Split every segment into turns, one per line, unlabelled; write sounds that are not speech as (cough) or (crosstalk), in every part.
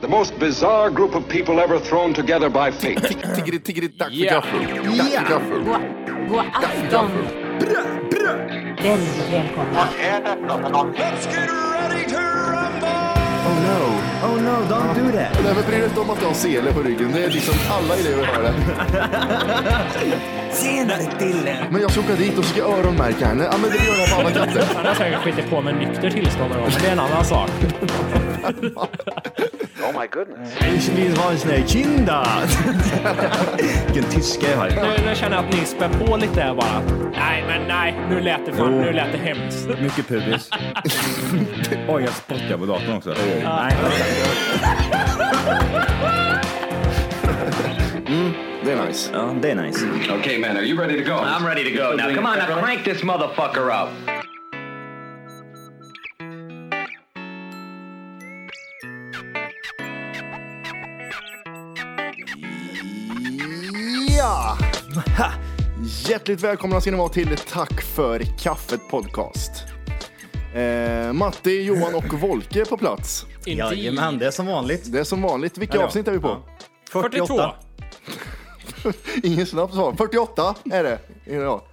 The most bizarre group of people ever thrown together by fate.
Tiggeri, tiggeri, dack för
Ja.
gaffel. Dack för gaffel.
God, god afton! Väldigt välkomna.
Oh no.
Oh no, don't do that.
Nej, men bry dig inte om att du har sele på ryggen. Det är liksom alla elever har det.
Senare Dille.
Men jag ska åka dit och ska öronmärka henne. Ja, men det gör jag på alla katter.
Han har säkert skitit på med nykter tillstånd någon gång, men det är en annan sak.
Ich will ha såna kinder. Vilken tyska jag har.
Nu, nu känner jag att ni spär på lite här bara. Nej, men nej. Nu lät det fan, nu lät det hemskt.
Mycket pubis. (laughs) Oj, jag spottar på datorn också. Nej.
Det är nice.
Ja, det är nice.
okay, man, are you ready to go?
I'm ready to go now. Come on, now crank this motherfucker up.
Ja! Hjärtligt välkomna ska ni vara till Tack för kaffet podcast. Eh, Matti, Johan och Volke på plats.
Jajamän, det är som vanligt.
Det är som vanligt. Vilka
Ja, ja.
avsnitt är vi på?
42.
Ingen snabb svar. 48 är det. Ja.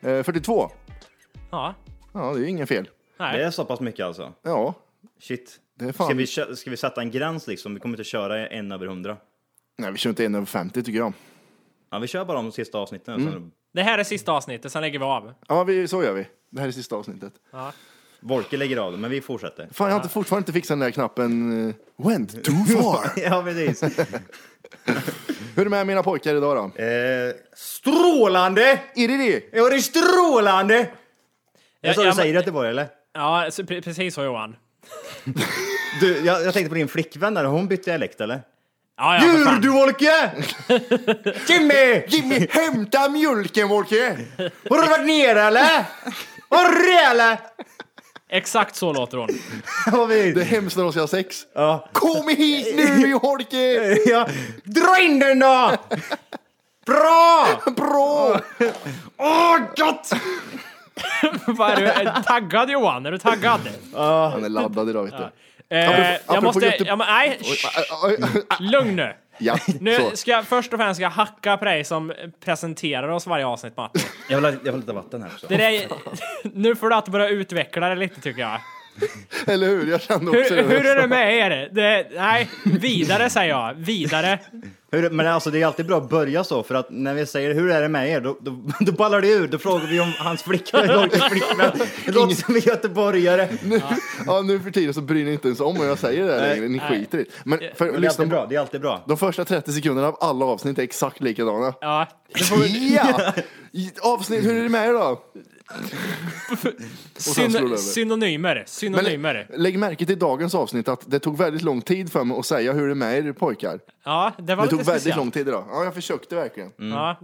Eh, 42.
Ja.
Ja, det är ju ingen fel.
Det
Nej.
är så pass mycket alltså.
Ja,
Shit.
det är fan.
Ska vi, kö- ska vi sätta en gräns liksom? Vi kommer inte köra en över hundra.
Nej, vi kör inte en över 50 tycker jag.
Ja, vi kör bara de sista avsnitten. och
Mm.
Sen
Det här är sista avsnittet, sen lägger vi av.
Ja, vi, så gör vi. Det här är sista avsnittet.
Volke lägger av det, men vi fortsätter. (laughs)
Fan, jag har inte, fortfarande inte fixat den där knappen. eh, Went too far.
Ja, precis.
(laughs) Hur är det med mina pojkar idag då?
eh, strålande!
Är det det?
Ja, det är strålande! Jag sa
Ja,
du
ja,
säger
men-
i Göteborg, eller?
Ja, så, pre- precis så Johan.
Du, jag, jag tänkte på din flickvän där, hon bytte dialekt, eller?
Ja, ja, för
Djur
fan.
du, Volke! Jimmy!
(laughs)
Jimmy, hämta mjölken Volke!
Har du varit nere eller? Har du det eller?
Exakt så låter hon. (laughs)
Vad vi-
Det är hemskt när de ska ha sex.
Ja.
Kom hit
(laughs)
nu Holke!
ja. Dra in den då! Bra!
Bra!
Åh, gott!
Vad är du är taggad Johan? Är du taggad?
Han är laddad idag vet du.
Eh,
apropå
jag måste...
Göte-
Ja, men, nej, shh, lugn nu.
Ja,
Nu
så.
ska jag först och främst ska jag hacka på dig som presenterar oss varje avsnitt Matti.
Jag vill, ha, jag vill ha lite vatten här också.
Det där, (laughs) nu får du att börja utveckla det lite tycker jag.
Eller hur? Jag kände också
Hur, hur är
det.
det med er? Det, nej, vidare säger jag. Vidare.
Hur, men alltså, det är alltid bra att börja så, för att när vi säger hur är det med er, då, då, då ballar det ur. Då frågar vi om hans flickvän, Volkes flickvän. Det låter som en göteborgare.
Ja, nu för tiden så bryr ni inte ens om vad jag säger där längre. Ni skiter i det. Men för,
Men det är
lyssna
alltid
på.
bra, det är alltid bra.
De första 30 sekunderna av alla avsnitt är exakt likadana.
Ja.
(laughs) Ja! I- Avsnitt, hur är det med er då? sen slår du över.
Syn, synonymer.
Men
Synonymer.
lä- lägg märke till dagens avsnitt att det tog väldigt lång tid för mig att säga hur det är med er pojkar.
Ja, det var
Det
lite
tog väldigt
speciellt. Mm.
lång tid idag. Ja, jag försökte verkligen.
Ja.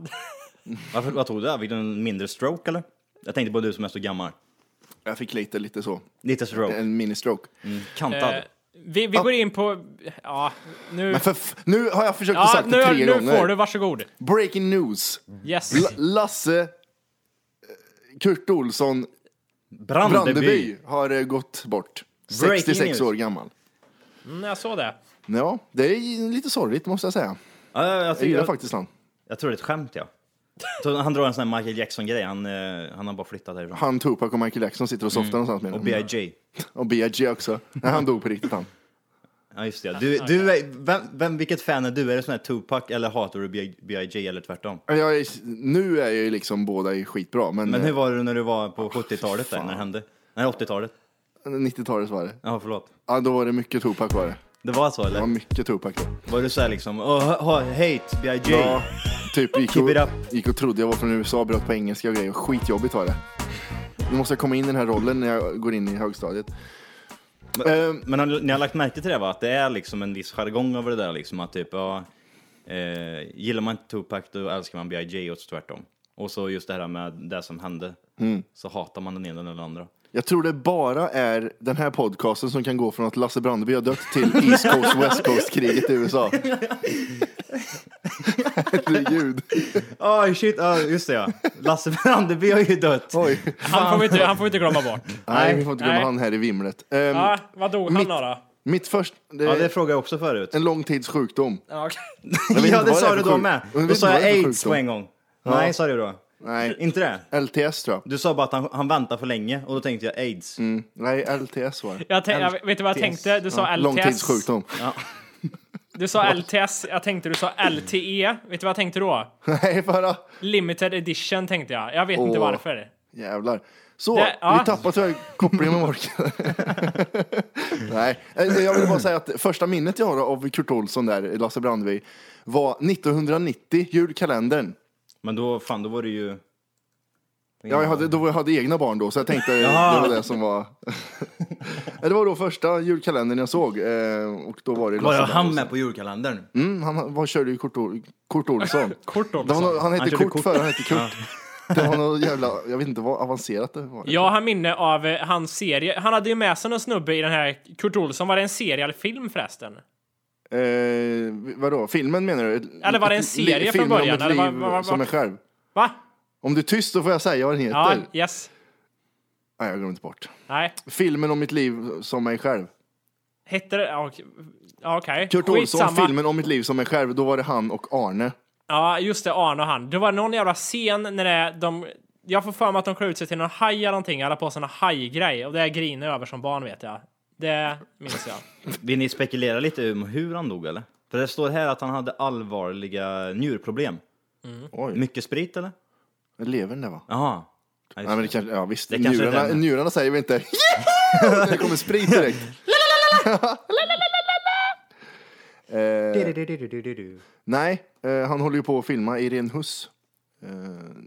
Varför, vad tog du? där? Fick du en mindre stroke eller? Jag tänkte på du som är så gammal.
Jag fick lite, lite så.
Lite stroke.
En mini-stroke.
Kantad.
Eh, Vi, vi går in på... Ja, nu...
Men för f- nu har jag försökt att
Ja,
sagt det tre
nu, nu
gånger.
får du. Varsågod.
Breaking news.
Yes.
L- Lasse eh, Kurt Olsson
Brandeby.
Brandeby har eh, gått bort.
Breaking
66
news.
år gammal.
Mm, jag såg det.
Ja, det är lite sorgligt måste jag säga.
Ja, jag, jag,
Jag gillar
jag,
faktiskt han.
jag tror det är ett skämt, ja. Jag tror Han drar en sån här Michael Jackson-grej. Han, eh, han har bara flyttat härifrån.
Han, Tupac och Michael Jackson sitter och softar någonstans med
Mm. Och
honom.
B.I.J.
Och B.I.G. också. Nej, han dog på riktigt han.
Ja, just det. ja. Du, du är, vem, vem, vilket fan är du? Är det sån här Tupac eller hatar du B.I.J. eller tvärtom?
Jag är, nu är jag ju liksom båda är skitbra, men,
Men
men
hur var du när du var på 70-talet där, när det hände? Nej, 80-talet.
90-talet eh, var det.
Ja, förlåt.
Ja, då var det mycket Tupac var det.
Det var så
Det
eller?
var mycket Tupac då.
Var du såhär liksom, oh, hate B.I.J.
Ja, typ gick
Keep it
och,
up.
gick och trodde jag var från USA, bröt på engelska och grejer. Skitjobbigt var det. Nu måste jag komma in i den här rollen när jag går in i högstadiet. Ehm,
Men har, ni- ni har lagt märke till det va? Att det är liksom en viss jargong över det där liksom att typ, ja, eh, gillar man inte Tupac då älskar man B.I.J. och så tvärtom. Och så just det här med det som hände, så hatar man den ena eller den andra.
jag tror det bara är den här podcasten som kan gå från att Lasse Brandeby har dött till East Coast West Coast-kriget i USA. Herregud.
Oj shit, ja, just det ja. (laughs) Lasse Brandeby har ju dött.
Oj.
Han får vi inte, han får vi inte glömma bort.
Nej, vi får inte glömma
nej.
han här i vimlet. Ehm,
Ja, vad dog han då? då?
Mitt första... Det
Ja,
är
det frågade jag också förut.
en lång tids sjukdom.
Ja, okej.
Jag vet
(laughs) ja,
inte
det
vad
sa
är
du
för
då
sjuk-
med.
Jag vet
Då sa
inte vad det är
jag
för
aids på
sjukdom.
en gång. Nej, sa du då.
Nej.
Inte det?
LTS tror jag.
Du sa bara att han, han väntar för länge och då tänkte jag aids.
Mm. Nej, LTS var det.
Jag tänk, jag, vet du vad jag tänkte? Du sa LTS.
Långtidssjukdom. (laughs)
Du sa LTS, jag tänkte du sa LTE. Vet du vad jag tänkte då?
Nej, förra.
Limited edition tänkte jag. Jag vet inte
Åh.
varför.
Jävlar. Så,
Det- ja.
vi tappar tyvärr kopplingen med Morkan. Nej, eh, jag vill bara säga att första minnet jag har av Kurt Olsson där, i Lasse Brandeby, var 1990, julkalendern.
Men då, fan, då var det ju...
Ja, jag hade, då jag hade egna barn då, så jag tänkte det var det som var... (laughs) det var då första julkalendern jag såg. eh, Och då var det
Var
Lasse
jag
Brandeby.
han med på julkalendern?
Mm, han var, körde ju Kurt, Ol- Kurt Olsson.
Kort
Det var
också.
någon, han hette
Han körde
Kurt,
Kurt.
före han hette
(laughs)
Kurt. Det var något jävla, jag vet inte vad avancerat det var.
Jag har minne av eh, hans serie. Han hade ju med sig någon snubbe i den här Kurt Olsson. Var det en serie eller film förresten?
Eh, vadå, filmen menar du?
Eller var det en
Li-
serie från
filmen
början,
Om ett
eller
liv
vad- vad- vad-
som är själv.
Va?
Om du är tyst så får jag säga vad den heter.
Ja, yes.
Nej, jag glömde inte bort.
Nej.
Filmen om mitt liv som mig själv.
Hette det... ja, Okej. Ja, Okej.
Kurt Olsson,
Skitsamma.
filmen om mitt liv som mig själv. Då var det han och Arne.
Ja, just det. Arne och han. Det var någon jävla scen när det, de... Jag får för mig att de klär ut sig till någon haj eller någonting. Alla på sig någon hajgrej. Och det griner jag över som barn vet jag. Det
(laughs)
minns jag.
Vill ni spekulera lite om hur han dog eller? För det står här att han hade allvarliga njurproblem.
Mm. Oj.
Mycket sprit eller?
Levern där va?
Jaha. Ja, just
Nej, men det
det.
kanske, ja visst.
Det kanske är
njurarna,
den.
njurarna säger vi inte "Yeho!" när det kommer sprit
(laughs)
direkt. eh, nej, eh, han håller ju på att filma Irene Huss eh,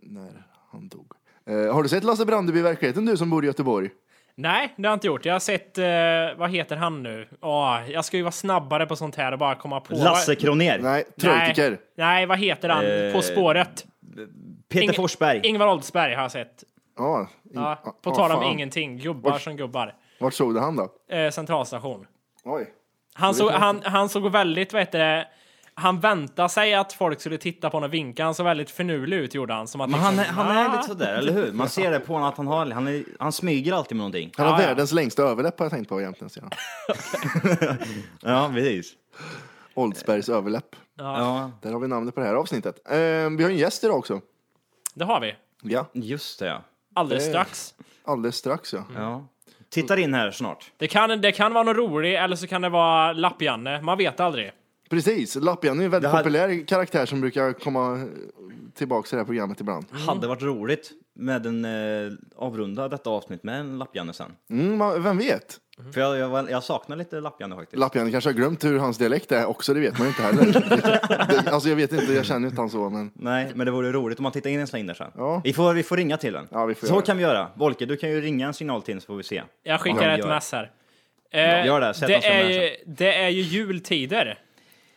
när han dog. Eh, har du sett Lasse Brandeby i verkligheten du som bor i Göteborg?
Nej, det har jag inte gjort. Jag har sett... Eh, vad heter han nu? Åh, jag ska ju vara snabbare på sånt här och bara komma på...
Lasse
Nej,
Kronér.
Nej.
Treutiger.
Nej, vad heter han? På spåret.
Eh, Peter
Inge-
Forsberg.
Ingvar Oldsberg har jag sett.
Ja, in-
Ja, på
ah,
tal om
fan.
ingenting. Gubbar som gubbar.
Vart såg du han då?
Eh, centralstation.
Oj.
Han såg, han, han såg väldigt, vad heter det, han väntade sig att folk skulle titta på honom och vinka. Han såg väldigt finurlig ut gjorde han. Som att
Men
liksom,
han, är- han
"Ah."
är lite sådär, eller hur? Man ser det på honom att han, har, han, är, han smyger alltid med någonting.
Han har
Ja, ja.
världens längsta överläpp har jag tänkt på egentligen. ser jag.
Ja, precis.
Oldsbergs överläpp.
Ja,
Där har vi namnet på det här avsnittet. Eh, vi har en gäst idag också.
Det har vi.
Ja,
just det ja.
Alldeles
Det-
strax.
alldeles strax ja.
ja. Tittar in här snart.
Det kan, det kan vara någon rolig eller så kan det vara Lapp-Janne. Man vet aldrig.
Precis, Lappjan är en väldigt
Det hade-
populär karaktär som brukar komma tillbaka till det här programmet ibland.
Hade varit roligt med en eh, avrunda detta avsnitt med en lappjanne sen.
Mm, man- vem vet?
För jag, jag, var- jag saknar lite lappjanne faktiskt.
Lappjan kanske har glömt hur hans dialekt är också, det vet man ju inte
(laughs)
heller. det, alltså jag vet inte, jag känner inte han så, men
Nej, men det vore roligt om man tittar in en släng där sen.
Ja.
Vi, får, vi får ringa till den.
Ja, vi får
så
göra det.
kan vi göra. Volke, du kan ju ringa en signal till den så får vi se.
Jag skickar
Ja,
ett
gör det.
mess här. Eh,
gör det. Sätt oss
det,
med
är
här
ju, det är ju jultider.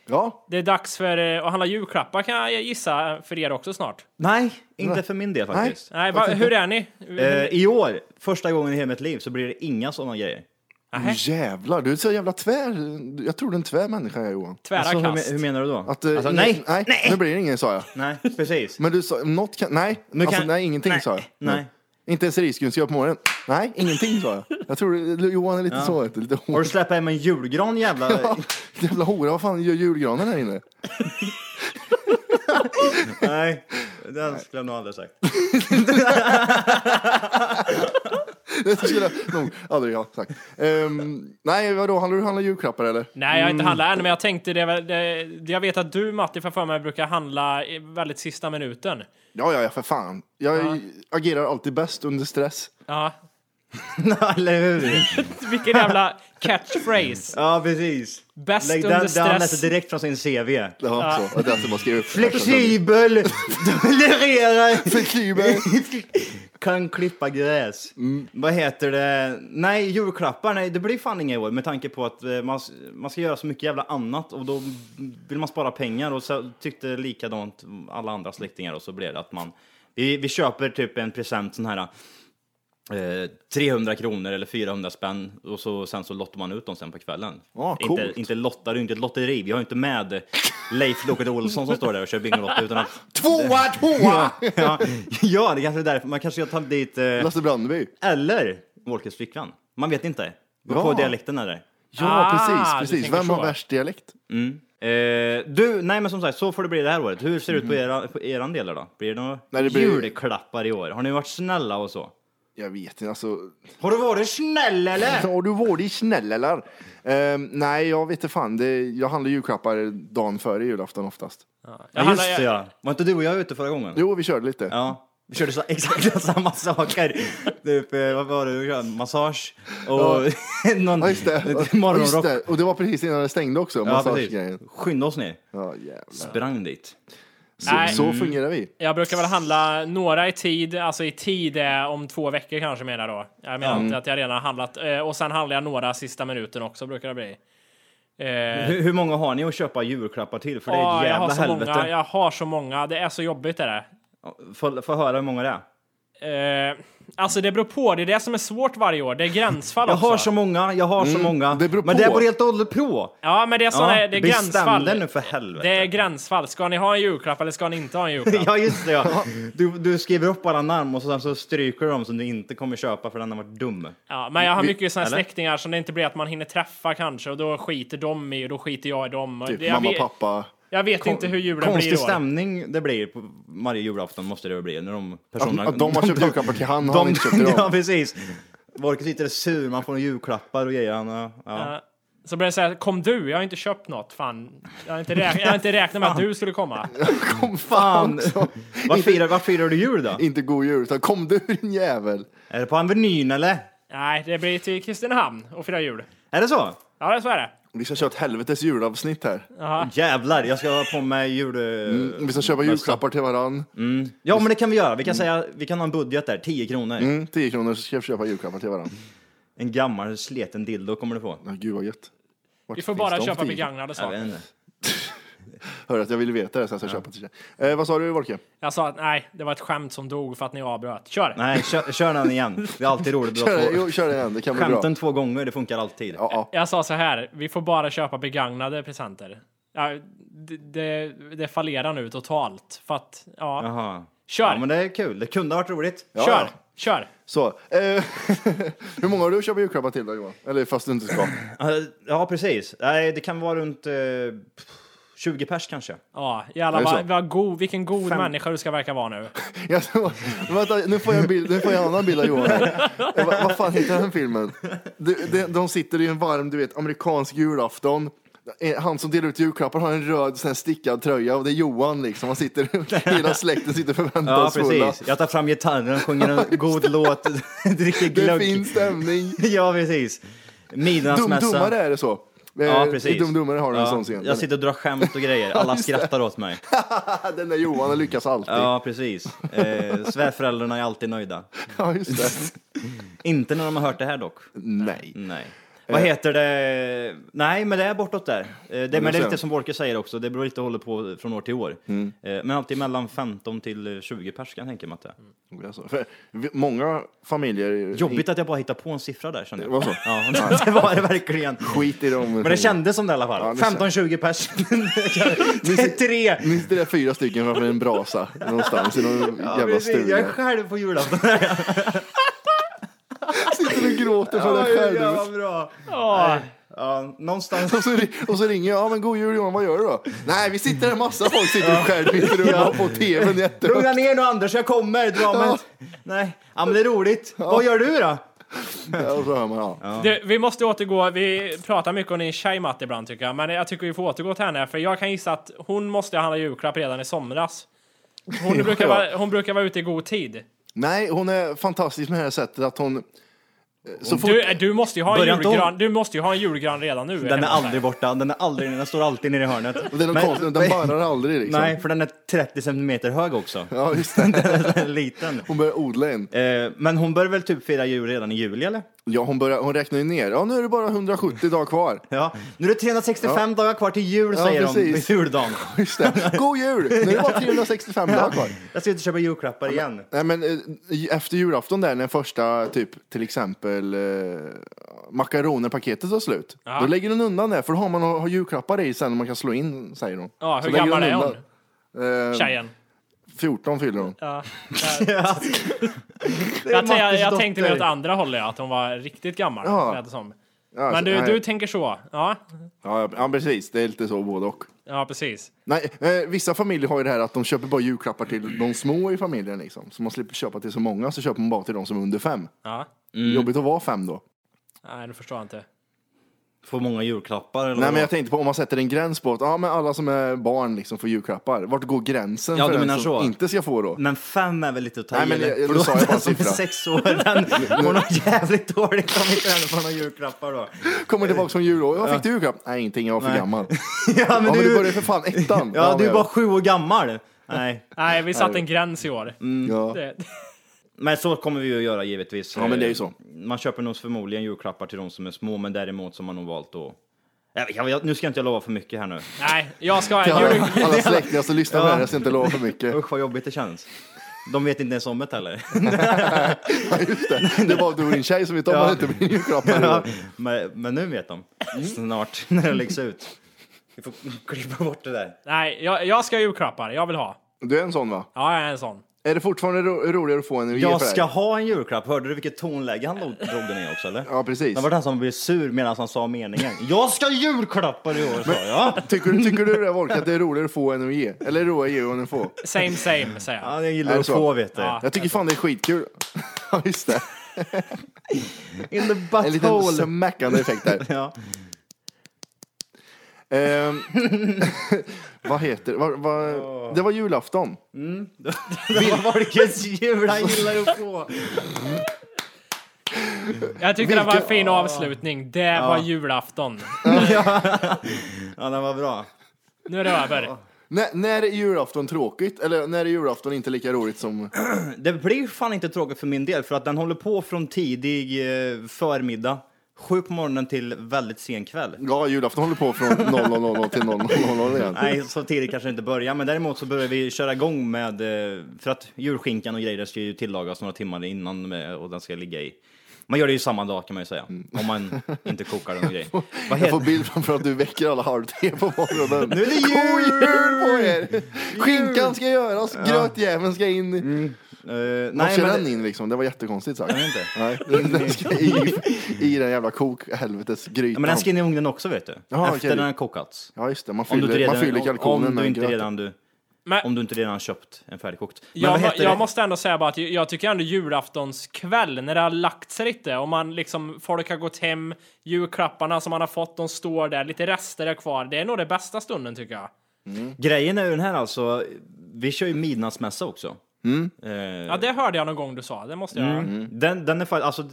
ja,
Det är dags för eh, att handla julklappar kan jag gissa för er också snart.
Nej, inte för min del faktiskt.
Nej, va, hur är ni?
Eh, I år, första gången i hela mitt liv, så blir det inga sådana grejer.
Nähä.
jävlar, du är så jävla tvär. Jag tror du är en tvär människa är, Johan.
Tvära
Alltså, hur,
kast.
me- hur menar du då?
Att, eh,
alltså,
ingen-
nej,
nej,
nej,
nu blir det ingen sa jag.
nej, precis.
Men du sa, något kan, nej,
Nu
alltså,
kan-
nej, ingenting
nej,
sa jag.
nej.
Inte ens risgrynsgröt på morgonen. Nej, ingenting sa jag. Jag tror du- Johan är lite så, vet du, lite
Har
hård. (laughs)
du släppt hem en julgran jävla...
Jävla hora, vad fan gör julgranen här inne?
Nej, den skulle jag nog aldrig sagt.
(laughs) Det skulle jag nog aldrig ha sagt. Ehm, nej, vadå, handlar du handlar julklappar eller?
Nej, jag har
Mm.
inte handlat än, men jag tänkte det, var- det, det- Jag vet att du, Matti, för för mig brukar handla i väldigt sista minuten.
Ja, ja, ja, för fan. Jag agerar alltid bäst under stress.
Ja,
(laughs) Eller hur?
vilken
(laughs)
jävla catchphrase.
Ja, precis.
Bäst
Lägg
under
den, den han
stress.
läste direkt från sin CV.
Det var så. Att jag alltid bara skriver upp.
(laughs) Flexibel, tolererar,
Flexibel.
(laughs) kan klippa gräs.
Mm.
Vad heter det? Nej, julklappar, nej det blir fan inga i år med tanke på att eh, man, man ska göra så mycket jävla annat och då vill man spara pengar och så tyckte likadant alla andra släktingar och så blev det att man, vi, vi köper typ en present sån här eh, 300 kronor eller 400 spänn och så, sen så lottar man ut dem sen på kvällen.
Ah, coolt.
inte, inte lottar, det är inte ett lotteri. Vi har ju inte med Leif Loket Olsson som står där och kör Bingolotto utan att
Tvåa, tvåa!
ja, ja, det kanske är därför. Man kanske ska ta dit... Eh,
Lasse Brandeby.
eller Wolkers flickvän. Man vet inte. Gå
Ja.
på dialekten eller?
Ja,
Ah, du
precis. precis.
tänker
Vem har
så.
värst dialekt?
Eh, du, nej men som sagt, så får det bli det här året. Hur ser det ut på, era, på eran del då? Blir det några
Mm. Nej, det blir-
julklappar i år? Har ni varit snälla och så?
Jag vet inte. Alltså...
Har du varit snäll eller?
Har du varit snäll eller? Ehm, nej, jag vet inte fan. Det, jag handlar julklappar dagen före julafton oftast.
Jag
Ja,
handlar-
just det ja. Var inte du och jag ute förra gången?
Jo, vi körde lite.
Ja. Vi körde så, (laughs) exakt samma saker. typ, eh, vad var det vi körde? Massage och (laughs) någon
Ja, just (laughs) det. Ja, just
(laughs) morgonrock.
det. Och det var precis innan det stängde också,
Ja, precis.
massagegrejen.
Skynda oss ner.
Ja, jävlar.
Sprang dit.
Så,
Nej.
så fungerar vi.
Jag brukar väl handla några i tid, alltså i tid är om två veckor kanske menar jag då. Jag menar inte att jag redan har handlat. Eh, Och sen handlar jag några sista minuten också brukar det bli. Eh,
Hur, hur många har ni att köpa julklappar till? För det är
ja,
ett
jag, har
jävla
så
helvete.
många, jag har så många, det är så jobbigt är det.
Få, få höra hur många det är.
Eh, alltså det beror på, det är det som är svårt varje år. Det är gränsfall
Jag
också.
har så många, jag har så många.
Mm, det beror
Men
på.
det beror helt och hållet på.
Ja, men det är, såna, det är
bestäm
gränsfall.
dig nu för helvete.
Det är gränsfall. Ska ni ha en julklapp eller ska ni inte ha en julklapp?
(laughs) Ja just det ja. Du, du skriver upp alla namn och så- sen så stryker du dem som du inte kommer köpa för den har varit dum.
Ja, men jag har mycket såna här
eller?
släktingar som det inte blir att man hinner träffa kanske och då skiter de i och då skiter jag i dem. Och
Typ
jag,
mamma,
vet,
pappa.
jag vet inte hur julen blir i
Konstig
år.
stämning det blir på varje julafton måste det väl bli när de
Att,
personerna...
att de
(laughs)
typ- har köpt julklappar till han och han inte köpt till
Ja
dem.
precis. Volker sitter sur, man får julklappar och grejer. Han, ja. Ja.
Ja. Så blir det såhär, kom du, jag har inte köpt något, fan. Jag har inte, räk- jag har inte räknat med att du skulle
(laughs)
komma.
Kom (laughs) fan!
Vad firar, vad firar du jul då?
Inte god jul, utan kom du din jävel.
Är det på Avenyn eller?
Nej, det blir till Kristinehamn och fira jul.
Är det så?
Ja, det är så är det.
Vi ska köra ett helvetes julavsnitt här.
Jävlar, jag ska ha på mig jul...
Vi ska köpa julklappar till varann.
Mm. Ja, men det kan vi göra. Vi kan säga, vi kan ha en budget där, 10 kronor.
Mm, 10 kronor så ska vi köpa julklappar till varann.
En gammal sleten dildo kommer du få.
Ja, gud vad gött. Vart
Vi får
finns
bara
de
köpa
10?
begagnade
Jag vet
saker.
inte.
Hör att jag ville veta det så jag ska köpa till dig. Eh, vad sa du Volke?
Jag sa att nej, det var ett skämt som dog för att ni avbröt. Kör!
Nej, kör, kör den igen. Det är alltid roligt
(laughs)
att
Kör,
få
jo, kör det igen, det kan bli bra.
skämten två gånger. Det funkar alltid.
Ja, ja.
Jag sa så här, vi får bara köpa begagnade presenter. Ja, det, det, det fallerar nu totalt. För att, ja.
Jaha.
Kör!
Ja, men det är kul. Det kunde ha varit roligt.
Ja,
kör!
ja.
Kör!
Så. Eh, (laughs) hur många har du köpt julklappar till då Johan? Eller fast du inte ska.
Eh, Ja, precis. Nej, det kan vara runt eh, 20 pers kanske.
Ja,
Är
jävlar
det så?
vad, vad god, vilken god
Fem-
människa du ska verka vara nu.
Jag så, vänta, nu får jag en, bild, nu får jag en annan bild av Johan. här. Eh, Vad vad fan heter den filmen? De, de, de sitter i en varm, du vet, amerikansk julafton. Eh, Han som delar ut julklappar har en röd sån här stickad tröja och det är Johan liksom. Han sitter, (laughs) hela släkten sitter
Ja,
förväntansfulla.
precis. Jag tar fram gitarren, sjunger
(laughs)
en god låt, (laughs) dricker
det är
glögg.
fin stämning.
(laughs) Ja, precis.
Dum,
Midnattsmässa.
dummare är det så. Eh,
Ja, precis.
I Dum Dummare har du en
Ja,
sån scen.
Jag sitter och drar skämt
(laughs)
och grejer. Alla skrattar åt mig.
Den (laughs) där Johan har lyckats alltid. Ja, (laughs)
Ja, precis. Eh, svärföräldrarna är alltid nöjda.
just det.
Inte när de har hört det här dock.
Nej.
Nej. Vad
Eh.
heter det? Nej, men det är bortåt där. Eh, Det, men det är
ser
lite
jag. Mm.
som Borke säger också, det beror lite håller på från år till år. Eh, Men alltid mellan 15 till eh, 20 pers kan jag tänka mig att det är.
Alltså, för vi- många familjer...
Jobbigt att jag bara hittar på en siffra där kände jag.
Det var så?
(laughs) Ja, det var det verkligen.
Skit i dem.
Men det kändes som det i alla
Ja,
fall.
det känns-
15-20 pers. (laughs) Det är tre!
Minns det där fyra stycken framför en brasa någonstans i någon
Ja,
jävla
precis. jag
stuga?
är själv på julafton.
Sitter (laughs) och gråter för dig
Ja,
själv.
ja, vad bra.
Åh,
Ja, någonstans
Och så, ri- och så ringer jag, ja men god jul Johan, vad gör du då? Nej, vi sitter där, massa folk sitter och skär mitt rum och på tvn jättehögt.
(laughs) Lugna ner nu Anders, jag kommer! Dramat! Nej, ja men det är roligt. Vad gör du då?
Och så hör man, ja.
du, vi måste återgå, vi pratar mycket om din tjej Matt ibland tycker jag, men jag tycker vi får återgå till henne, för jag kan gissa att hon måste handla julklapp redan i somras. Hon, brukar, vara, hon brukar vara ute i god tid.
Nej, hon är fantastisk med det här sättet att hon... eh, Så fort,
Du, eh, du, måste ju ha en
Börjar inte hon-
julgran, du måste ju ha en julgran redan nu.
Den
hemma
är
hos dig.
aldrig borta, den, är aldrig, den står alltid nere i hörnet.
den, är
Men-
konstig, den barrar aldrig liksom.
Nej, för den är 30 centimeter hög också.
Ja, just det.
(laughs) Den är Liten.
Hon börjar odla en.
Eh, Men hon bör väl typ fira jul redan i juli eller?
Ja, hon, börjar, hon räknar ju ner. Ja, nu är det bara 170 dagar kvar.
Ja. Nu är det 365 dagar kvar till jul
Ja,
säger
precis.
de på juldagen.
Just
(laughs)
det. God jul! Nu är det bara 365 dagar kvar.
Jag ska ut och köpa julklappar igen.
Nej, men eh, efter julafton där när första typ till exempel eh, makaronerpaketet tar slut. Då lägger hon undan det för då har man har julklappar i sen och man kan slå in säger hon.
Ja, hur
Så lägger
gammal är
undan. Eh,
Tjejen.
14 fyller hon.
Jag, jag,
Mattes
jag tänkte mer
dotter.
åt andra hållet, att hon var riktigt gammal.
Ja.
lät det som.
Ja,
Men
alltså,
du,
nej.
du tänker så? Ja,
Ja, ja, precis. Det är lite så både och.
ja precis.
Nej, eh, vissa familjer har ju det här att de köper bara julklappar till de små i familjen liksom. Så man slipper köpa till så många, så köper man bara till de som är under fem.
Ja.
Jobbigt att vara fem då.
Nej, det förstår jag inte.
Får många julklappar eller
Nej men
vadå?
jag tänkte på om man sätter en gräns på att ja, men alla som är barn liksom får julklappar. Vart går gränsen
Ja,
för
du
den
menar
som
så.
inte ska få då?
Men fem är väl lite att ta
Nej,
i,
men
eller?
jag- jag-
För
då
då
sa jag bara
den
en
som är
siffra.
sex år, den mår nog jävligt dåligt om inte den får några julklappar då.
Kommer tillbaka från jul och vad fick du i julklapp? Nej ingenting, jag var för
Nej.
gammal.
Ja, men
(laughs) Ja, men du började
du,
för fan ettan.
(laughs) ja, du är
men-
bara sju år gammal. Nej,
Nej, vi satte en gräns i år.
Ja.
Det,
men så kommer vi ju att göra givetvis.
Ja, men det är ju så.
Man köper nog förmodligen julklappar till de som är små, men däremot som man nog valt då. Jag, jag, jag, nu ska jag inte lova för mycket här nu.
nej, jag ska...
Till
Jul,
alla,
(laughs)
alla släktingar som lyssnar på det här, jag ska inte lova för mycket.
Usch vad jobbigt det känns. De vet inte ens om det heller.
Ja, just det. det var du och din tjej som vet om
Ja.
att det inte blir julklappar.
Ja, men, men nu vet de. Snart, när det läggs ut. Vi får klippa bort det där.
nej, jag, jag ska ha julklappar. Jag vill ha.
Du är en sån va?
Ja, jag är en sån.
Är det fortfarande ro- roligare att få en att ge
Jag
för dig?
ska ha en julklapp. Hörde du vilket tonläge han drog drog den i också eller?
Ja, precis.
Det var han som blev sur medan han sa meningen. Jag ska ha julklappar i år sa jag.
Tycker, du- tycker du det Volke, att det är roligare att få än att ge? Eller är det roligare att ge än att få?
Same same, säger jag.
Ja, jag gillar
Är det
att
så?
få vet du.
Ja.
Jag tycker fan det är skitkul. (laughs) Ja, just det.
In the
En liten
butthole.
smäckande effekt där.
(laughs) Ja.
Ehm, (laughs) vad heter vad, vad, det? var julafton. (laughs)
Vilket jul han gillar att få.
Jag tyckte det var en
Vilken-
fin avslutning. Det var julafton.
Ja, den var bra.
Nu är det över.
N- när är julafton tråkigt? Eller när är julafton inte lika roligt som...
Det blir fan inte tråkigt för min del för att den håller på från tidig eh, förmiddag, sju på morgonen till väldigt sen kväll.
Ja, julafton håller på från 00.00 till 00.00 igen.
Nej, så tidigt kanske det inte börjar, men däremot så börjar vi köra igång med, eh, för att julskinkan och grejer ska ju tillagas några timmar innan med, och den ska ligga i. Man gör det ju samma dag kan man ju säga, om man inte kokar den och grejer. Vad
Mm. (laughs) Jag får
heter
bild framför att du väcker alla halv tre på morgonen.
Nu är det jul!
God jul på er! Skinkan ska göras, grötjäveln ska in.
Eh,
Var
nej,
ska
Mm. men...
den in liksom? Det var jättekonstigt sagt.
Jag vet inte.
Nej, den den ska i, i den jävla kokhelvetes
Ja,
grytan.
men den ska in i ugnen också vet du,
Jaha,
efter
okej.
den har kokats.
Ja just det, man
Om
fyller,
du inte redan,
man fyller kalkonen
om, om du
med
inte
gröt.
redan du, om
Men
du inte redan köpt en färdigkokt. Men
jag,
vad
må-
heter
jag
det?
måste ändå säga bara att jag tycker ändå julaftonskväll, när det har lagt sig lite och man liksom, folk har gått hem, julklapparna som man har fått, de står där, lite rester är kvar. Det är nog det bästa stunden tycker jag.
Grejen är ju den här alltså, vi kör ju midnattsmässa också. Eh, Mm.
Ja, det hörde jag någon gång du sa. Det måste jag göra.
Den, den är faktiskt, alltså,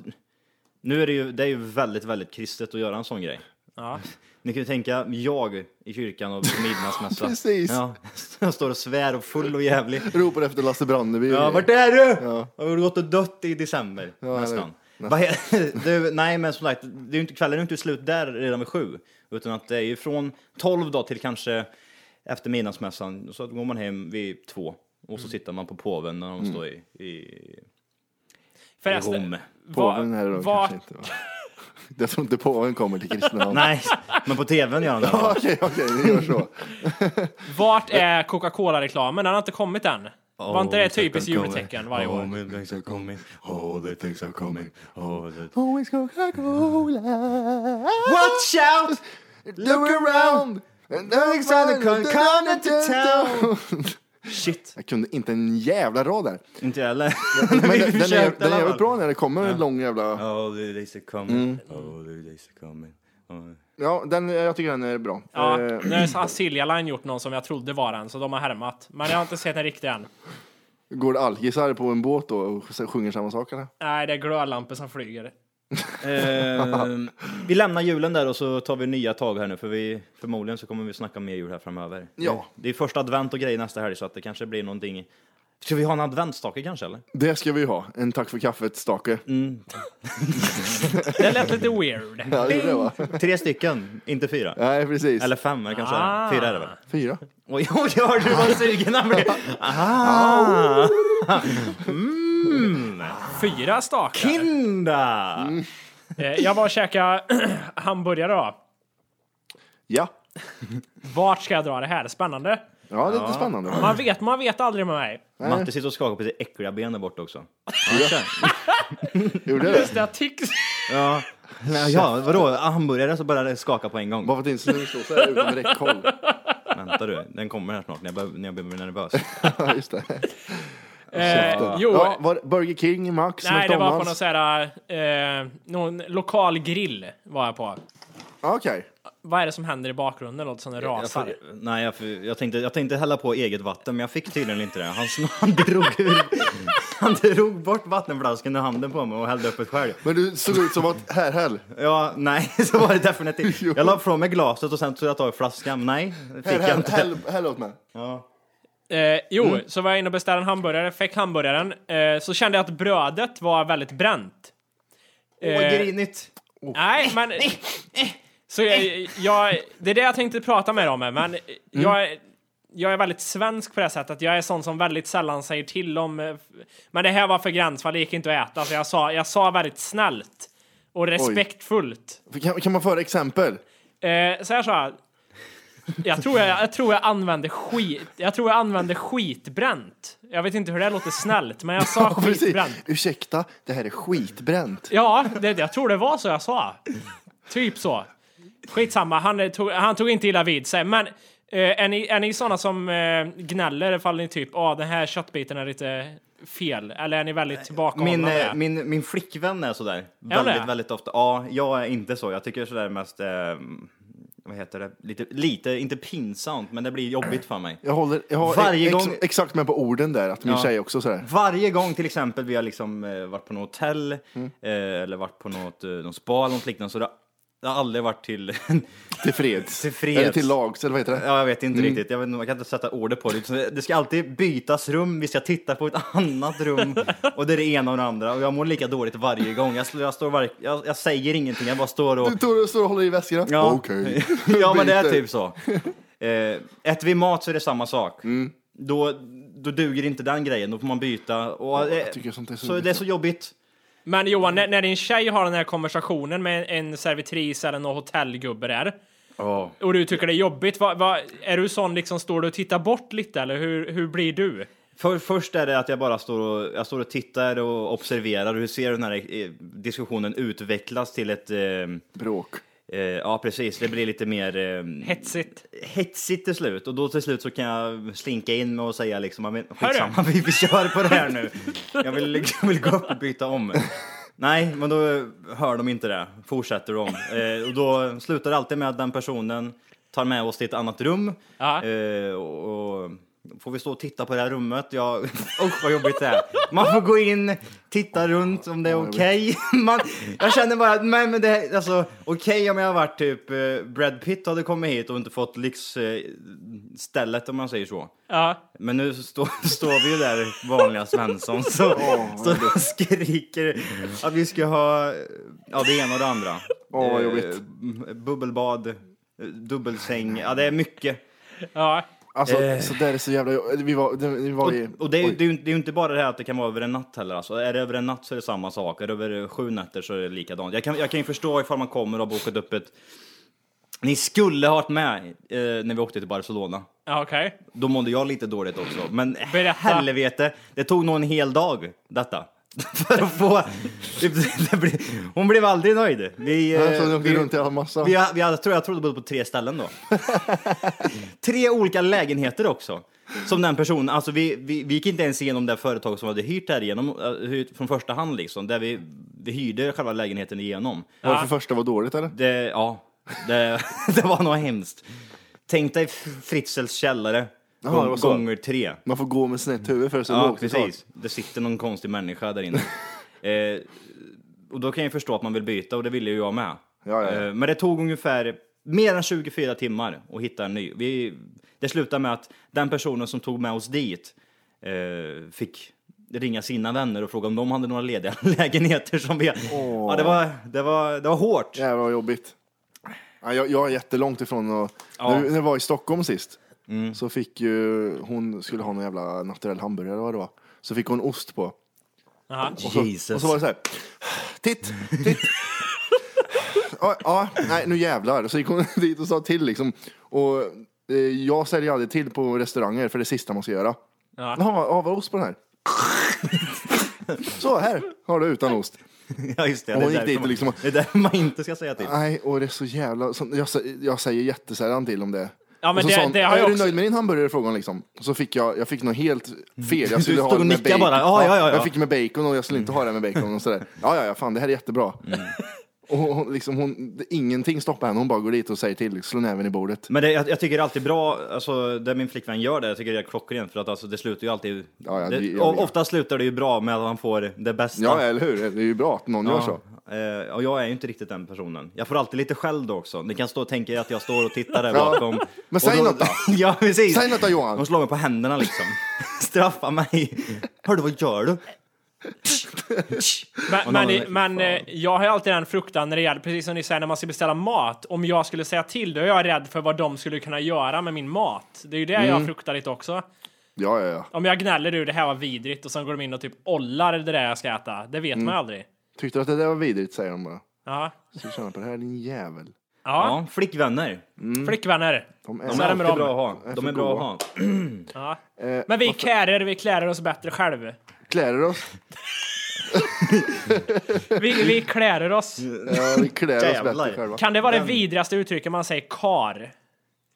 nu är det ju, det är ju väldigt, väldigt kristet att göra en sån grej.
Ja.
Ni kan ju tänka, jag i kyrkan och på (laughs) midnattsmässa.
Precis.
Ja, jag står och svär och full och (laughs) jävlig.
Ropar efter Lasse Brandeby.
Ja, vart är du? Har du gått och dött i december?
eller-
nästan. Vad he- (laughs) du, nej, men som sagt, det är ju inte, kvällen är ju inte slut där redan vid sju. Utan att det är ju från tolv då till kanske efter midnattsmässan. Så går man hem vid två. Och så sitter man på påven när de står i, i, i
Förresten,
Rom.
Påven här då
var,
kanske inte. va? Jag tror inte påven kommer
(laughs)
till Kristinehamn.
Nej, men på tvn gör han det.
Okej, okej, vi gör så.
vart är Coca-Cola-reklamen? Den har inte kommit än. (laughs) var inte det ett typiskt jultecken varje år?
Oh,
Always Oh, Coca-Cola.
Watch out!
Look around! And the continental.
Shit,
Jag kunde inte en jävla rad
(laughs)
där.
inte jag heller. (laughs)
Men den, den, är,
försökte
den är
alla
jävligt Mm.
fall.
bra när det kommer en lång jävla...
Oh, the days are coming. Oh, the days are coming. Oh.
Ja, den, jag tycker den är bra.
Ja,
Eh,
nu har Silja Line gjort någon som jag trodde var den, så de har härmat. Men jag har inte sett den riktig än.
Går det alkisar på en båt då och s- sjunger samma sak eller?
Nej, det är glödlampor som flyger.
Ehm, vi lämnar julen där och så tar vi nya tag här nu för vi, förmodligen så kommer vi snacka mer jul här framöver.
Ja.
Det är första advent och grejer nästa helg så att det kanske blir någonting. Ska vi ha en adventsstake kanske eller?
Det ska vi ju ha. En tack för kaffet-stake.
Mm.
Det lät lite weird.
Ja, det gjorde det, va?
Tre stycken, inte fyra.
Nej, precis.
Eller fem är kanske
Ah.
fyra är det väl?
Fyra.
Oj, oj, hörde du vad sugen
(laughs)
han blev? Aha!
Fyra stakar.
Kinda!
Eh, Jag var och käkade (clears throat) hamburgare då.
Ja.
Vart ska jag dra det här? Spännande.
Ja, det är lite spännande.
Man vet, man vet aldrig med mig.
Matte sitter och skakar på sitt äckliga ben där borta också. Ja, kör. (laughs)
Gjorde det?
Det är tics. (laughs)
ja. Nej, ja, vadå? Ah, Hamburgare så bara det skaka på en gång.
Bara för att din snusdosa är utom räckhåll.
(laughs) Vänta du, den kommer här snart när jag bör- när jag börjar bli nervös.
Ja, Just det.
Eh, jo,
Ja, var, Burger King, Max,
nej det var på någon
McDonalds.
sån här, eh, någon lokal grill var jag på.
Ah, Okej.
Vad är det som händer i bakgrunden? Låter som det
Jag,
rasar.
får- nej, jag, får- jag, tänkte, jag tänkte hälla på eget vatten, men jag fick tydligen inte det. Han, sn- (laughs) han, drog, ur, han drog bort vattenflaskan ur handen på mig och hällde upp ett själv.
Men du såg ut som att, här, här.
Ja, nej, (laughs) så var det definitivt.
Jo.
Jag la från mig glaset och sen tog jag tag i flaskan. men Nej, det
Här,
fick jag
här,
inte.
här, här åt mig.
Eh, jo, så var jag inne och beställde en hamburgare, fick hamburgaren. Eh, så kände jag att brödet var väldigt bränt.
Åh, grinigt.
Nej, men... Så jag, jag, det är det jag tänkte prata med dig om, men jag, är- jag är väldigt svensk på det här sättet. Jag är sån som väldigt sällan säger till om... eh, Men det här var för gränsfall, det gick inte att äta. Så jag sa, jag sa väldigt snällt och respektfullt.
Kan, kan man föra exempel?
Eh, så här sa jag. Jag tror jag, jag, tror jag, använde skit, jag tror jag använde skitbränt. Jag vet inte hur det här låter snällt, men jag sa skitbränt.
Ursäkta, det här är skitbränt.
Ja, det, jag tror det var så jag sa. Typ så. Skitsamma, han eh, tog, han tog inte illa vid sig. Men eh, är ni, är ni sådana som eh, gnäller ifall ni typ, ah den här köttbiten är lite fel? Eller är ni väldigt
Min,
tillbakahållande?
eh, min, min flickvän är sådär.
hon
väldigt,
det?
väldigt ofta. Ja, jag är inte så. Jag tycker sådär mest, eh, vad heter det, lite, lite, inte pinsamt, men det blir jobbigt för mig.
Jag håller jag har
Varje
ex,
gång-
exakt med på orden där, att min
Ja.
tjej också sådär.
Varje gång till exempel vi har liksom eh, varit på något hotell
Mm.
eh, eller varit på något, eh, någon spa eller något liknande så det har, det har aldrig varit till... (laughs)
Till freds.
Till freds.
Eller till lags, eller vad heter det?
ja, jag vet
Mm.
inte riktigt. Jag, vet, inte, jag kan inte sätta ordet på det. Så Det ska alltid bytas rum. Vi ska titta på ett
(laughs)
annat rum och det är det ena och det andra och jag mår lika dåligt varje gång. Jag, jag, står var, jag, jag säger ingenting. Jag bara står och...
Du står och- står och håller i väskorna?
Ja.
Okej.
(laughs) ja, men det är
Byter.
typ så. Eh, äter vi mat så är det samma sak.
Mm.
Då, då duger inte den grejen, då får man byta. Och, eh,
jag tycker sånt är så
så det är så jobbigt.
Men Johan, när, när din tjej har den här konversationen med en servitris eller någon hotellgubbe där
Ja.
och du tycker det är jobbigt, vad, vad, är du sån liksom, står du och tittar bort lite eller hur, hur blir du?
För, först är det att jag bara står och, jag står och tittar och observerar hur ser den här eh, diskussionen utvecklas till ett... Eh,
Bråk.
eh, ja, precis. Det blir lite mer eh,
Hetsigt.
hetsigt till slut. Och då till slut så kan jag slinka in med och säga liksom, "Ja, men skitsamma, (laughs) vi, vi kör på det här nu. Jag vill, jag vill gå upp och byta om. Nej, men då hör de inte det. Fortsätter de. Eh, och då slutar det alltid med att den personen tar med oss till ett annat rum.
Ja.
Eh, och, och får vi stå och titta på det här rummet? Ja, (laughs) usch vad jobbigt det är. Man får gå in, titta runt om det är okej. (laughs) Man, Jag känner bara att, nej men det här, alltså okej om jag har varit typ eh, Brad Pitt hade kommit hit och inte fått lyxstället om man säger så.
Ja.
Men nu så står, (laughs) står vi ju där, vanliga Svensson, så, så och skriker att vi ska ha ja, det ena och det andra.
Åh, vad jobbigt.
Eh, Bubbelbad, eh, dubbelsäng, ja det är mycket.
ja.
Alltså, så där är så jävla... Vi var, vi var i...
eh. Och det är, ju-
Oj.
det, är ju, det är ju inte bara det här att det kan vara över en natt heller. Alltså, är det över en natt så är det samma sak. Är det över sju nätter så är det likadant. Jag kan, jag kan ju förstå ifall man kommer och har bokat upp ett... Ni skulle ha varit med eh, när vi åkte till Barcelona.
Ja, Okej.
Då mådde jag lite dåligt också. Men
Berätta.
helvete, det tog nog en hel dag detta. (laughs) För att få... Det, det blev, hon blev aldrig nöjd. Vi, eh,
Alltså, de åkte
vi,
runt i en massa.
vi, vi, jag, tror, jag tror det bodde på tre ställen
(laughs)
då. tre olika lägenheter också. Som den personen, alltså vi, vi, vi gick inte ens igenom det företag som hade hyrt här igenom, eh, hyrt från första hand liksom, där vi, vi hyrde själva lägenheten igenom.
Var det för första var dåligt eller?
Det, ja, det, (laughs) det var nog hemskt. Tänk dig Fritzels källare,
Jaha, det var så.
gånger tre.
Man får gå med snett huvud för att se
Mm. Ja,
lågt i tak.
precis. Det sitter någon konstig människa
(laughs)
där inne. eh, och då kan jag förstå att man vill byta och det ville ju jag med.
Ja, ja, ja.
Eh, men det tog ungefär mer än 24 timmar att hitta en ny. Vi, det slutade med att den personen som tog med oss dit eh, fick ringa sina vänner och fråga om de hade några lediga (laughs) lägenheter som vi... Ja, det var, det var, det var hårt.
Jävlar vad jobbigt. Ja, jag, jag är jättelångt ifrån och, när, vi- när jag var i Stockholm sist
Mm.
så fick ju hon, skulle ha någon jävla naturell hamburgare eller vad det var. Så fick hon ost på.
Jaha.
Jesus.
Och så var det så här. Titt, titt. ja, ja, nej nu jävlar. Så gick hon (laughs) dit och sa till liksom. Och eh, jag säljer aldrig till på restauranger för det är det sista man ska göra.
Ja.
Jaha, ja, vad ost på den här? så här har du utan ost.
(laughs) ja just det,
Hon
det, är
gick
därför
dit och
man,
liksom-
det är därför man inte ska säga till.
Nej, och det är så jävla... så- Jag, sä- jag säger jättesällan till om det.
Ja, men
Och så
det-
sa hon,
det har jag
är
också-
du nöjd med din hamburgare? frågade hon liksom. Och så fick jag, jag fick något helt fel. Jag
Mm. Du
skulle ha
stod
det med
och nickade
bacon.
bara. Ja, ja, ja, ja. Mm.
Jag fick med bacon och jag skulle inte ha det med bacon och sådär. Ja, ja, ja, fan det här är jättebra. (laughs) Och hon, liksom, hon, det, ingenting stoppar henne, hon bara går dit och säger till, slå näven i bordet.
Men det, jag, jag tycker det är alltid bra, alltså det min flickvän gör det, jag tycker det är klockrent för att alltså, det slutar ju alltid...
Ja, ja,
det,
det- jag
o-
vet.
ofta slutar det ju bra med att man får det bästa.
Ja, eller hur? Det är ju bra att någon gör så.
Eh, och jag är ju inte riktigt den personen. Jag får alltid lite skäll då också. Ni kan stå och tänka er att jag står och tittar där
Ja.
bakom.
Men
Och
säg
då,
något då.
(laughs) ja, precis.
Säg något då, Johan.
De slår mig på händerna liksom. (laughs) Straffa mig. Hör du vad gör du?
Men,
Och
men,
någon-
i- men eh, jag har ju alltid den fruktan när det gäller, precis som ni säger, när man ska beställa mat. Om jag skulle säga till, då är jag rädd för vad de skulle kunna göra med min mat. Det är ju det
Mm.
jag fruktar lite också.
Ja, ja, ja.
Om jag gnäller ur det här var vidrigt och sen går de in och typ ollar det där jag ska äta. Det vet
Mm.
man ju aldrig.
Tyckte du att det där var vidrigt, säger de bara.
Ja.
Så du känner på det här, din jävel.
Ja.
Ja, Mm. flickvänner.
Flickvänner.
De
De
är...
är
det
alltid
med
bra att
dem.
ha. De är bra att ha.
Ja.
eh,
Men vi kärer, vi klär oss bättre själva.
klär oss.
(laughs)
Vi, vi klär oss.
Ja, vi klär oss
Jävlar.
bättre själva.
Kan det vara det vidrigaste uttrycket man säger kar?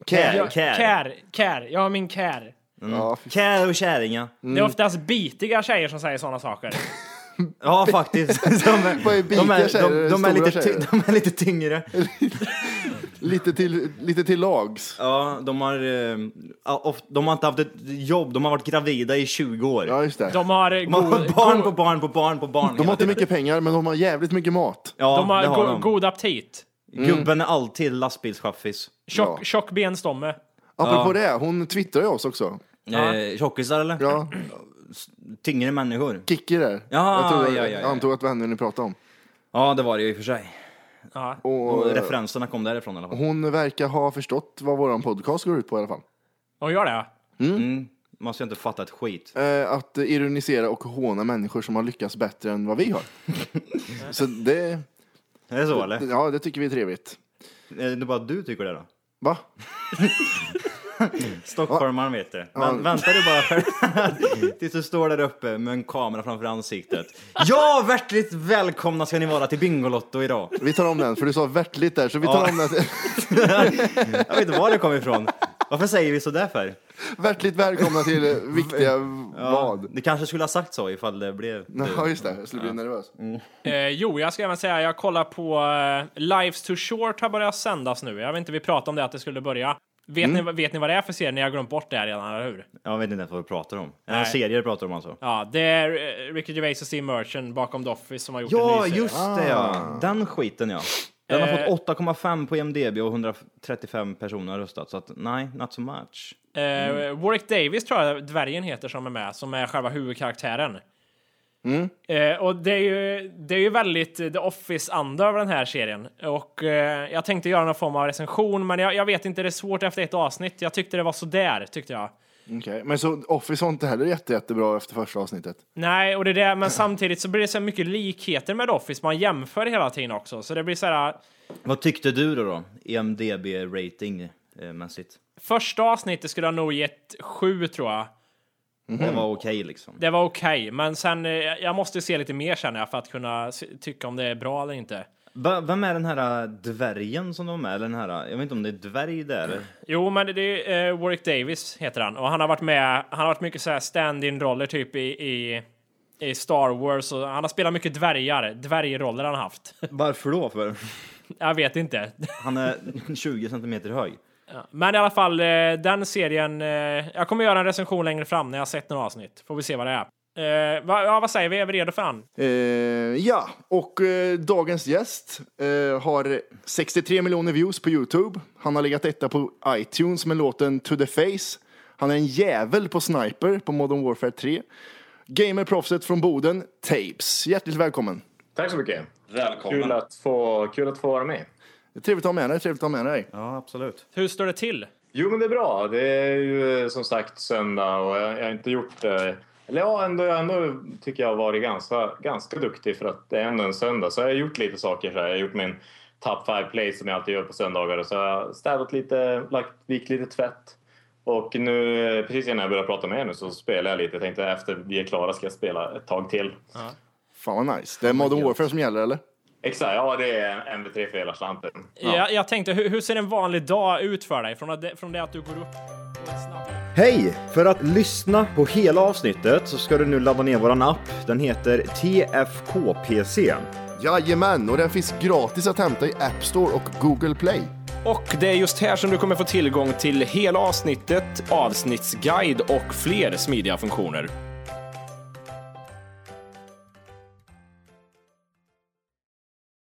Kär,
Jag-
kär.
Kär, kär. Jag har min kär.
Ja, fy-
Kär och käringa.
Det är oftast bitiga tjejer som säger sådana saker.
Ja,
(laughs)
faktiskt. De är,
Vad är
de
bitiga
är,
tjejer?
de, de är,
Stora
lite, ty, (laughs)
tjejer?
de är lite tyngre.
lite, till, lite till lags.
Ja, de har, eh, of- de har inte haft ett jobb, de har varit gravida i 20 år.
Ja, just det.
De har,
De har
go-
fått barn
go-
på barn på barn på barn.
De har inte mycket pengar, men de har jävligt mycket mat.
Ja,
de har
det har
go-
de.
god aptit.
Mm.
Gubben är alltid lastbilschaffis.
Tjock,
Ja.
tjock benstomme.
Apropå det, hon twittrar ju oss också.
Ja.
Eh, tjockisar eller?
Ja,
Tyngre människor.
Kikki där.
Ja,
jag, tror,
ja, ja, ja.
jag antog att det var henne ni pratade om.
Ja, det var det ju i och för sig.
Ja.
Och,
Och
eh,
referenserna kom därifrån i alla fall.
hon verkar ha förstått vad vår podcast går ut på i alla fall.
Och gör det? ja.
Man ska inte fatta ett skit.
Eh, att ironisera och håna människor som har lyckats bättre än vad vi
(laughs)
har. så det,
Är det så eller?
ja, det tycker vi är trevligt.
Är det bara du tycker det då?
Va?
Stockholmaren vet det. Men vänta du bara (laughs) själv. tills du står där uppe med en kamera framför ansiktet. Ja, hjärtligt välkomna ska ni vara till Bingolotto idag.
Vi tar om den, för du sa värtligt där, så vi tar
Ja.
om den. (laughs)
Jag vet inte var det kom ifrån. Varför säger vi så där för?
Värtligt välkomna
(laughs)
till eh, viktiga vad.
Ni kanske skulle ha sagt så ifall det blev...
Ja, just det. Jag skulle bli nervös.
Eh, jo, jag ska även säga, jag kollar på eh, Lives Too Short har börjat sändas nu. Jag vet inte, vi pratade om det att det skulle börja. Vet,
Mm.
ni, vet ni vad det är för serie? Ni har glömt bort det här redan, eller hur?
Jag vet inte ens vad vi pratar om.
Nej.
En serie pratar om alltså.
Ja, det är eh, Ricky Gervais och Steve Merchant bakom The Office som har gjort en
Ja,
ny serie.
just det ja. Den skiten ja. Den
Eh.
har fått 8,5 på IMDB och 135 personer har röstat. Så att nej, not so much.
Eh, Warwick Davis tror jag dvärgen heter som är med, som är själva huvudkaraktären. Eh, och det är, ju, det är ju väldigt eh, The Office-anda över den här serien. Och eh, jag tänkte göra någon form av recension, men jag, jag vet inte, det är svårt efter ett avsnitt. Jag tyckte det var sådär, tyckte jag.
Okej, Men så Office var inte heller jätte, jättebra efter första avsnittet.
Nej, och det är det, men samtidigt så blir det så mycket likheter med The Office. Man jämför hela tiden också, så det blir så här. eh,
Vad tyckte du då? då? IMDB-rating eh, mässigt.
Första avsnittet skulle jag nog gett sju, tror jag.
Det var okej liksom.
Det var okej, men sen eh, jag måste se lite mer känner jag för att kunna se- tycka om det är bra eller inte.
Va, vem är den här äh, dvärgen som de är? Eller den här, äh, jag vet inte om det är dvärg där.
Jo, men det är eh, Warwick Davis heter han och han har varit med. Han har varit mycket så här stand-in roller typ i, i i Star Wars och han har spelat mycket dvärgar. Dvärgroller han har haft. (laughs)
Varför då? För?
jag vet inte.
Han är (laughs) 20 centimeter hög.
Men i alla fall, eh, den serien. Eh, jag kommer göra en recension längre fram när jag har sett några avsnitt. Får vi se vad det är. Eh, va, ja, vad säger vi? Är vi redo för han?
Eh, ja, och eh, dagens gäst eh, har 63 miljoner views på Youtube. Han har legat etta på iTunes med låten To the Face. Han är en jävel på Sniper på Modern Warfare 3. Gamerproffset från Boden, Tapes. Hjärtligt välkommen.
Tack så mycket. Kul
Välkommen.
att, få, kul att få vara med.
Det är Trevligt att ha med dig. Trevligt att ha med dig.
Ja, absolut.
Hur står det till?
Jo, men det är bra. Det är ju eh, som sagt söndag och jag, jag har inte gjort... eh, Eller ja, ändå, jag ändå tycker jag har varit ganska, ganska duktig för att det är ändå en söndag. Så jag har gjort lite saker. Så här. Jag har gjort min top five play som jag alltid gör på söndagar. Och Så har jag städat lite, lagt, vikt lite tvätt. Och nu, eh, precis innan jag började prata med er nu så spelar jag lite. Jag tänkte efter vi är klara ska jag spela ett tag till.
Fan vad nice. Det är Modern Warfare som gäller eller?
Exakt, ja det är en MV3 för hela slanten.
Jag, jag tänkte, hur, hur ser en vanlig dag ut för dig? Från, att, från det att du går upp och är snabb.
Hej! För att lyssna på hela avsnittet så ska du nu ladda ner våran app. Den heter TFKPC.
Jajamän, och den finns gratis att hämta i App Store och Google Play.
Och det är just här som du kommer få tillgång till hela avsnittet, avsnittsguide och fler smidiga funktioner.